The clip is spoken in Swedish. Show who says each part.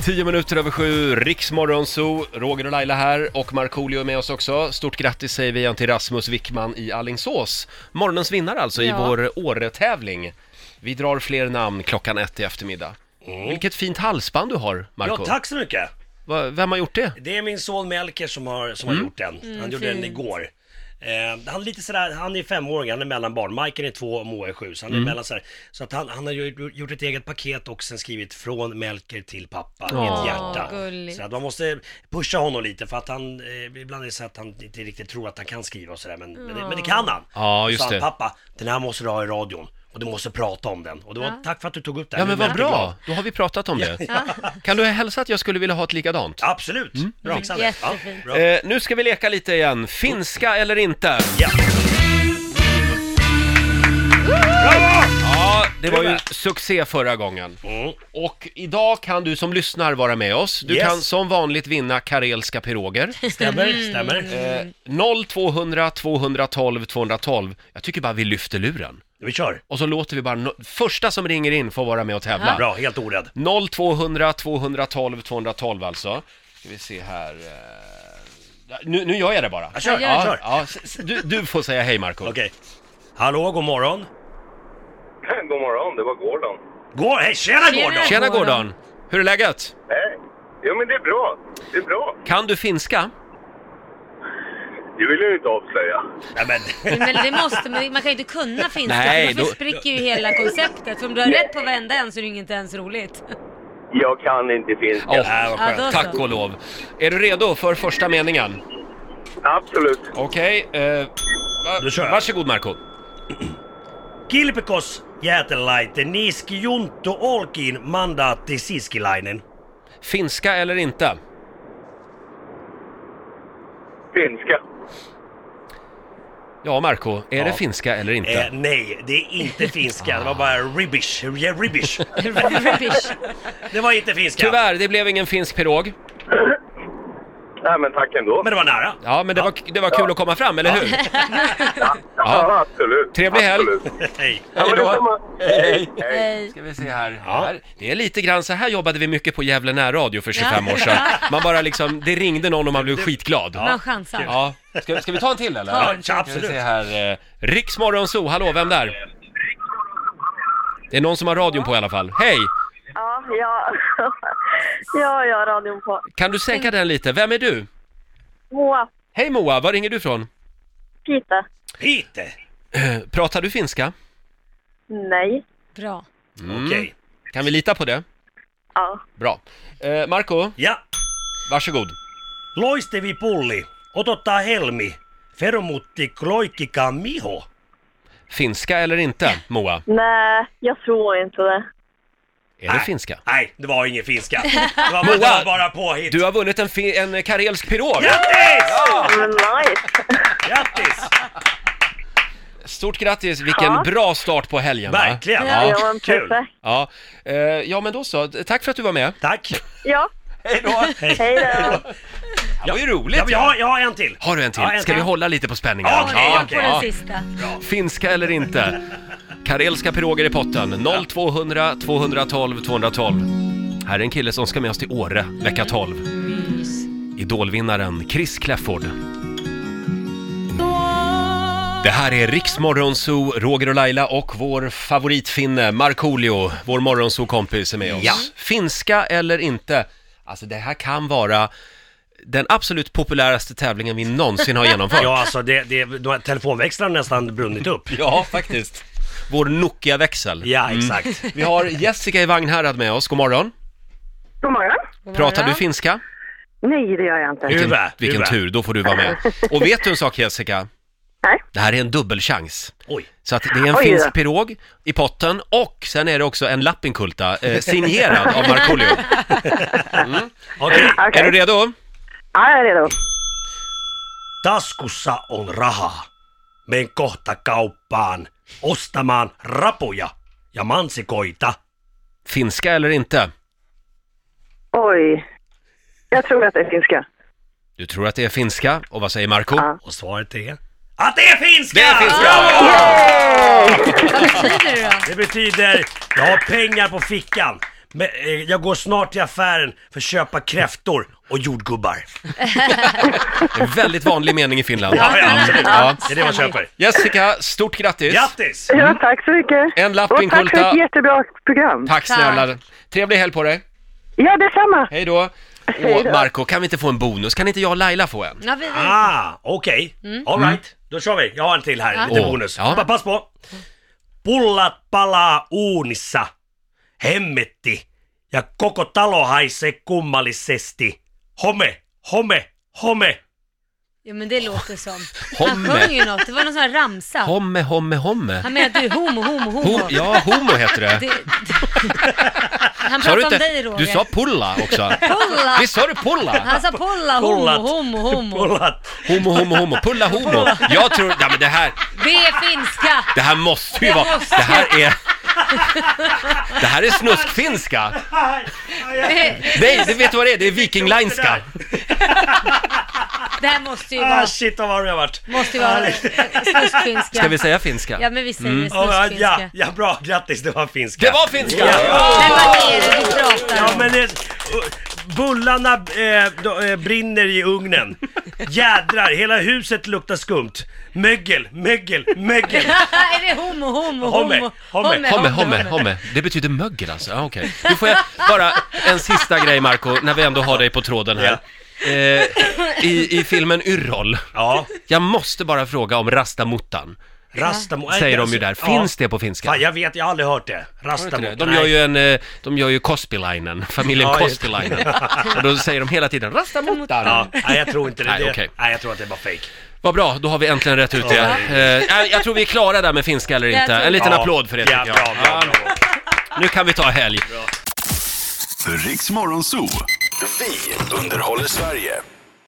Speaker 1: Tio minuter över sju, Riksmorgon Zoo, Roger och Laila här och Markoolio är med oss också. Stort grattis säger vi igen till Rasmus Wickman i Allingsås. Morgonens vinnare alltså i
Speaker 2: Ja.
Speaker 1: vår Åre-tävling. Vi drar fler namn klockan ett i eftermiddag. Vilket fint halsband du har, Marco.
Speaker 3: Ja, tack så mycket.
Speaker 1: Va- Vem har gjort det?
Speaker 3: Det är min son Melker som har, som
Speaker 1: Mm.
Speaker 3: har gjort den. Han gjorde den igår. Eh, han är lite sådär, han är femåring, han är mellanbarn. Majken är två och Moa är sju, så han
Speaker 1: Mm.
Speaker 3: är mellan sådär. Så att han, han har ju gjort ett eget paket och sen skrivit från Melker till pappa med
Speaker 1: Åh,
Speaker 3: ett hjärta.
Speaker 2: gulligt.
Speaker 3: Så att man måste pusha honom lite för att han, eh, ibland är det så att han inte riktigt tror att han kan skriva och sådär, men, men, det, men det kan han.
Speaker 1: Ja, just
Speaker 3: så han,
Speaker 1: det.
Speaker 3: pappa, den här måste du ha i radion och du måste prata om den. Och det var, tack för att du tog upp det här.
Speaker 1: Ja
Speaker 3: Jag
Speaker 1: men
Speaker 3: är
Speaker 1: vad
Speaker 3: väldigt glad.
Speaker 1: bra, då har vi pratat om det. Kan du hälsa att jag skulle vilja ha ett likadant?
Speaker 3: Absolut,
Speaker 1: Mm.
Speaker 3: du fixar det. Ja,
Speaker 2: Jättefint.
Speaker 3: bra.
Speaker 1: Eh, nu ska vi leka lite igen, finska eller inte?
Speaker 3: Ja.
Speaker 1: Ja, det var ju
Speaker 3: Kul.
Speaker 1: succé förra gången.
Speaker 3: Mm.
Speaker 1: Och idag kan du som lyssnar vara med oss. Du
Speaker 3: Yes. Eh.
Speaker 1: kan som vanligt vinna karelska piroger.
Speaker 3: Stämmer, stämmer.
Speaker 1: Eh, 0200 212 212. Jag tycker bara vi lyfter luren.
Speaker 3: Vi kör.
Speaker 1: Och så låter vi bara no- första som ringer in får vara med och tävla.
Speaker 3: Bra, helt orädd.
Speaker 1: 0200 212 212 alltså. Ska vi se här. eh, Nu, nu gör jag det bara.
Speaker 3: Ja, kör,
Speaker 2: Ja,
Speaker 3: kör.
Speaker 1: ja, s- s- du, du får säga hej Marco.
Speaker 3: Okej. Hallå, god morgon.
Speaker 4: God morgon, det var Gordon.
Speaker 3: Gå, hej, tjena
Speaker 2: Tjena.
Speaker 3: Gordon!
Speaker 1: Tjena
Speaker 2: Godmorgon.
Speaker 1: Gordon! Hur är läget?
Speaker 4: Hej! Jo men det är bra, det är bra.
Speaker 1: Kan du finska?
Speaker 4: Det vill jag ju inte avslöja.
Speaker 3: Nej, men,
Speaker 2: Men det måste man, man kan ju inte kunna finska,
Speaker 1: Nej,
Speaker 2: för då
Speaker 1: då-
Speaker 2: spricker ju hela konceptet. För om du har rätt på varenda en så är det ju inte ens roligt.
Speaker 4: Jag kan inte finska.
Speaker 1: Åh,
Speaker 3: nej, vad
Speaker 2: Ja,
Speaker 3: skönt.
Speaker 2: då
Speaker 1: tack
Speaker 2: så.
Speaker 1: och lov. Är du redo för första meningen?
Speaker 4: Absolut.
Speaker 1: Okej, eh, va-
Speaker 3: Då kör jag.
Speaker 1: varsågod Marco.
Speaker 3: Kilpikos jäätelaite niski junto olkiin mandaatti siskilainen.
Speaker 1: Finska eller inte?
Speaker 4: Finska.
Speaker 1: Ja, Marco, är det finska eller inte?
Speaker 3: Eh, nej, det är inte finska. Det var bara ribbish. Ja, ribbish.
Speaker 2: Rubbish.
Speaker 3: Det var inte finska.
Speaker 1: Tyvärr, det blev ingen finsk pirog.
Speaker 4: Nej men tack ändå.
Speaker 3: Men det var nära.
Speaker 1: Ja, men det var, det var kul att komma fram, eller hur?
Speaker 4: Ja, absolut.
Speaker 1: Trevlig helg.
Speaker 4: Absolut.
Speaker 3: Hej.
Speaker 4: Ja,
Speaker 1: Hej
Speaker 4: men
Speaker 1: då.
Speaker 4: detsamma. Hej. Hej.
Speaker 2: Nej.
Speaker 1: Ska vi se här.
Speaker 3: Ja.
Speaker 1: här. Det är lite grann, så här jobbade vi mycket på Gävle närradio för 25 år sedan. Man bara liksom, det ringde någon och man blev skitglad.
Speaker 2: Man chansar.
Speaker 1: Ja. Ska, ska vi ta en till eller?
Speaker 2: Ta
Speaker 3: en till.
Speaker 1: Ska vi se här. eh, Riksmorgon Zoo, hallå, vem där? Det är någon som har radion på i alla fall. Hej!
Speaker 5: Ja, ja. ja, jag har radion på.
Speaker 1: Kan du sänka den lite? Vem är du?
Speaker 5: Moa,
Speaker 1: Hej Moa, var ringer du ifrån?
Speaker 5: Pita.
Speaker 3: Peter.
Speaker 1: Pratar du finska?
Speaker 5: Nej.
Speaker 2: Bra.
Speaker 3: Okej.
Speaker 1: Kan vi lita på det?
Speaker 5: Ja.
Speaker 1: Bra. Eh, Marco,
Speaker 3: Ja.
Speaker 1: varsågod.
Speaker 3: Loistevi pulli. Otottaa helmi. Feromutti kloikika miho.
Speaker 1: Finska eller inte, Moa?
Speaker 5: Nej, jag tror inte det.
Speaker 1: Är det finska?
Speaker 3: Nej, det var ingen finska. Det var,
Speaker 1: Moa,
Speaker 3: det var bara påhitt.
Speaker 1: Du har vunnit en, fi- en karelsk pirog!
Speaker 3: Grattis!
Speaker 5: Men nice.
Speaker 3: Grattis!
Speaker 1: Stort grattis, vilken
Speaker 5: Ja.
Speaker 1: bra start på helgen va?
Speaker 3: Verkligen!
Speaker 5: Ja, det var en
Speaker 3: kul.
Speaker 5: perfekt.
Speaker 1: Ja. Eh, ja, men då så. Tack för att du var med.
Speaker 3: Tack!
Speaker 5: Ja,
Speaker 1: Hej då!
Speaker 5: hej då.
Speaker 1: Det var ju roligt!
Speaker 3: Ja, men jag, har, jag har en till.
Speaker 1: Har du en till?
Speaker 3: Ja, en
Speaker 1: Ska vi
Speaker 3: till.
Speaker 1: hålla lite på spänningen?
Speaker 3: Ja, okej,
Speaker 2: Jag
Speaker 3: okej.
Speaker 2: på den
Speaker 1: Ja.
Speaker 2: sista.
Speaker 1: Finska eller inte? Karelska piroger i potten. 0200 212 212. Här är en kille som ska med oss till Åre vecka 12. Idolvinnaren Chris Clafford. Det här är Riksmorgonzoo, Roger och Laila och vår favoritfinne Markoolio, vår morgonzoo-kompis är med oss.
Speaker 3: Ja.
Speaker 1: Finska eller inte? Alltså det här kan vara den absolut populäraste tävlingen vi någonsin har genomfört.
Speaker 3: Ja, alltså det, det, de här telefonväxlarna har nästan brunnit upp.
Speaker 1: Ja, faktiskt. Vår Nokia-växel.
Speaker 3: Ja, exakt.
Speaker 1: Vi har Jessica i Vagnhärad med oss, god morgon.
Speaker 5: God morgon.
Speaker 1: Pratar du finska?
Speaker 5: Nej, det gör jag inte.
Speaker 1: Vilken,
Speaker 3: Uva,
Speaker 1: vilken
Speaker 3: uva.
Speaker 1: tur, då får du vara med. Och vet du en sak Jessica?
Speaker 5: Nej.
Speaker 1: Det här är en dubbelchans.
Speaker 3: Oj.
Speaker 1: Så att det är en
Speaker 5: Oj,
Speaker 1: finsk
Speaker 5: ja.
Speaker 1: pirog i potten och sen är det också en lappinkulta, eh, signerad av Markoolio.
Speaker 3: Okej.
Speaker 1: Är du redo?
Speaker 5: Ja, jag är redo.
Speaker 3: Taskussa on rahaa. Meen kohta kauppaan ostamaan rapuja ja mansikoita.
Speaker 1: Finska eller inte?
Speaker 5: Oj. Jag tror att det är finska.
Speaker 1: Du tror att det är finska, och vad säger Marco?
Speaker 5: Ja.
Speaker 3: Och svaret är... Att det är finska!
Speaker 1: Det är finska!
Speaker 2: Vad betyder det då?
Speaker 3: Det betyder jag har pengar på fickan. Men, eh, jag går snart till affären för att köpa kräftor och jordgubbar.
Speaker 1: En väldigt vanlig mening i Finland.
Speaker 3: Ja, ja, absolut.
Speaker 1: Ja.
Speaker 3: Det är det man köper.
Speaker 1: Jessica, stort grattis!
Speaker 3: Grattis!
Speaker 5: Ja, tack så mycket.
Speaker 1: Mm. En lapp
Speaker 5: Och tack för
Speaker 1: inkulta.
Speaker 5: ett jättebra program.
Speaker 1: Tack snälla! Trevlig helg på dig!
Speaker 5: Ja, detsamma.
Speaker 1: Hej då!
Speaker 5: Hej
Speaker 1: Och
Speaker 5: då.
Speaker 1: Marco, kan vi inte få en bonus? Kan inte jag och Laila få en?
Speaker 2: Ja, vi, vi.
Speaker 3: Ah, okej. All right. Då kör vi. Jag har en till här, lite
Speaker 1: Åh,
Speaker 3: bonus.
Speaker 1: ja.
Speaker 3: Pa- Pass på. Pullat palaa uunissa. Hemmetti. Ja koko talo haisee kummallisesti. Home, home, home.
Speaker 2: Ja, men det låter som... Han
Speaker 1: Homme.
Speaker 2: sjöng ju något. Det var någon sån här ramsa.
Speaker 1: Homme, homme, homme!
Speaker 2: Han menar att du är homo, homo, homo.
Speaker 1: Ho- ja, homo heter
Speaker 2: Det,
Speaker 1: det.
Speaker 2: det, han
Speaker 1: Sa du
Speaker 2: pratade om dig
Speaker 1: inte?
Speaker 2: Roger.
Speaker 1: Du sa pulla också.
Speaker 2: Pulla.
Speaker 1: Visst sa du pulla?
Speaker 2: Han sa pulla,
Speaker 3: Pullat.
Speaker 2: homo, homo, homo.
Speaker 3: Pullat.
Speaker 1: Homo, homo, homo. Pulla homo. Jag tror, ja men det här,
Speaker 2: Det är finska.
Speaker 1: det här måste ju
Speaker 2: Det
Speaker 1: vara,
Speaker 2: måste-
Speaker 1: det här är, det här är snuskfinska. Nej, det vet du vad det är? Det är vikinglinska.
Speaker 2: Det här måste ju
Speaker 3: Ah
Speaker 2: vara,
Speaker 3: shit vad varm jag vart.
Speaker 2: måste ju vara eh, snuskfinska.
Speaker 1: Ska vi säga Mm. finska?
Speaker 2: Ja, men vi säger
Speaker 3: Ja,
Speaker 2: snuskfinska.
Speaker 3: ja, ja, bra. Grattis, det var finska.
Speaker 1: Det var finska!
Speaker 2: Men vad är det du pratar
Speaker 3: Ja
Speaker 2: om?
Speaker 3: men eh, bullarna eh, då, eh, brinner i ugnen. Jädrar, hela huset luktar skumt. Mögel, mögel, mögel.
Speaker 2: är det homo, homo,
Speaker 3: Homme,
Speaker 2: homo?
Speaker 3: homme,
Speaker 1: Homme, homme, homme. Det betyder mögel alltså? Ja, okej. Nu får jag bara en sista grej Marco, när vi ändå har dig på tråden här. Eh, i, I filmen Yrrol,
Speaker 3: Ja,
Speaker 1: jag måste bara fråga om rastamuttan,
Speaker 3: Rastamo...
Speaker 1: säger de ju där. Finns
Speaker 3: Alltså, ja.
Speaker 1: det på finska?
Speaker 3: Fan, jag vet, jag har aldrig hört det.
Speaker 1: Har du inte det?
Speaker 3: Rastamo...
Speaker 1: De gör ju en, eh, de gör ju Kospilainen, familjen
Speaker 3: Ja, just det.
Speaker 1: Kospilainen. Och då säger de hela tiden rastamuttan.
Speaker 3: Ja, nej jag tror inte det.
Speaker 1: Nej,
Speaker 3: det
Speaker 1: okej.
Speaker 3: nej jag tror att det är bara fake.
Speaker 1: Vad bra, då har vi äntligen rätt ut det.
Speaker 3: Ja.
Speaker 1: Eh, nej, jag tror vi är klara där med finska eller
Speaker 2: Jag
Speaker 1: inte.
Speaker 2: tror det.
Speaker 1: En liten
Speaker 3: ja.
Speaker 1: applåd för det
Speaker 3: ja,
Speaker 1: tycker jag.
Speaker 3: Bra, bra,
Speaker 1: Ja,
Speaker 3: bra.
Speaker 1: nu kan vi ta helg.
Speaker 6: Riks Morgonzoo. Vi underhåller Sverige.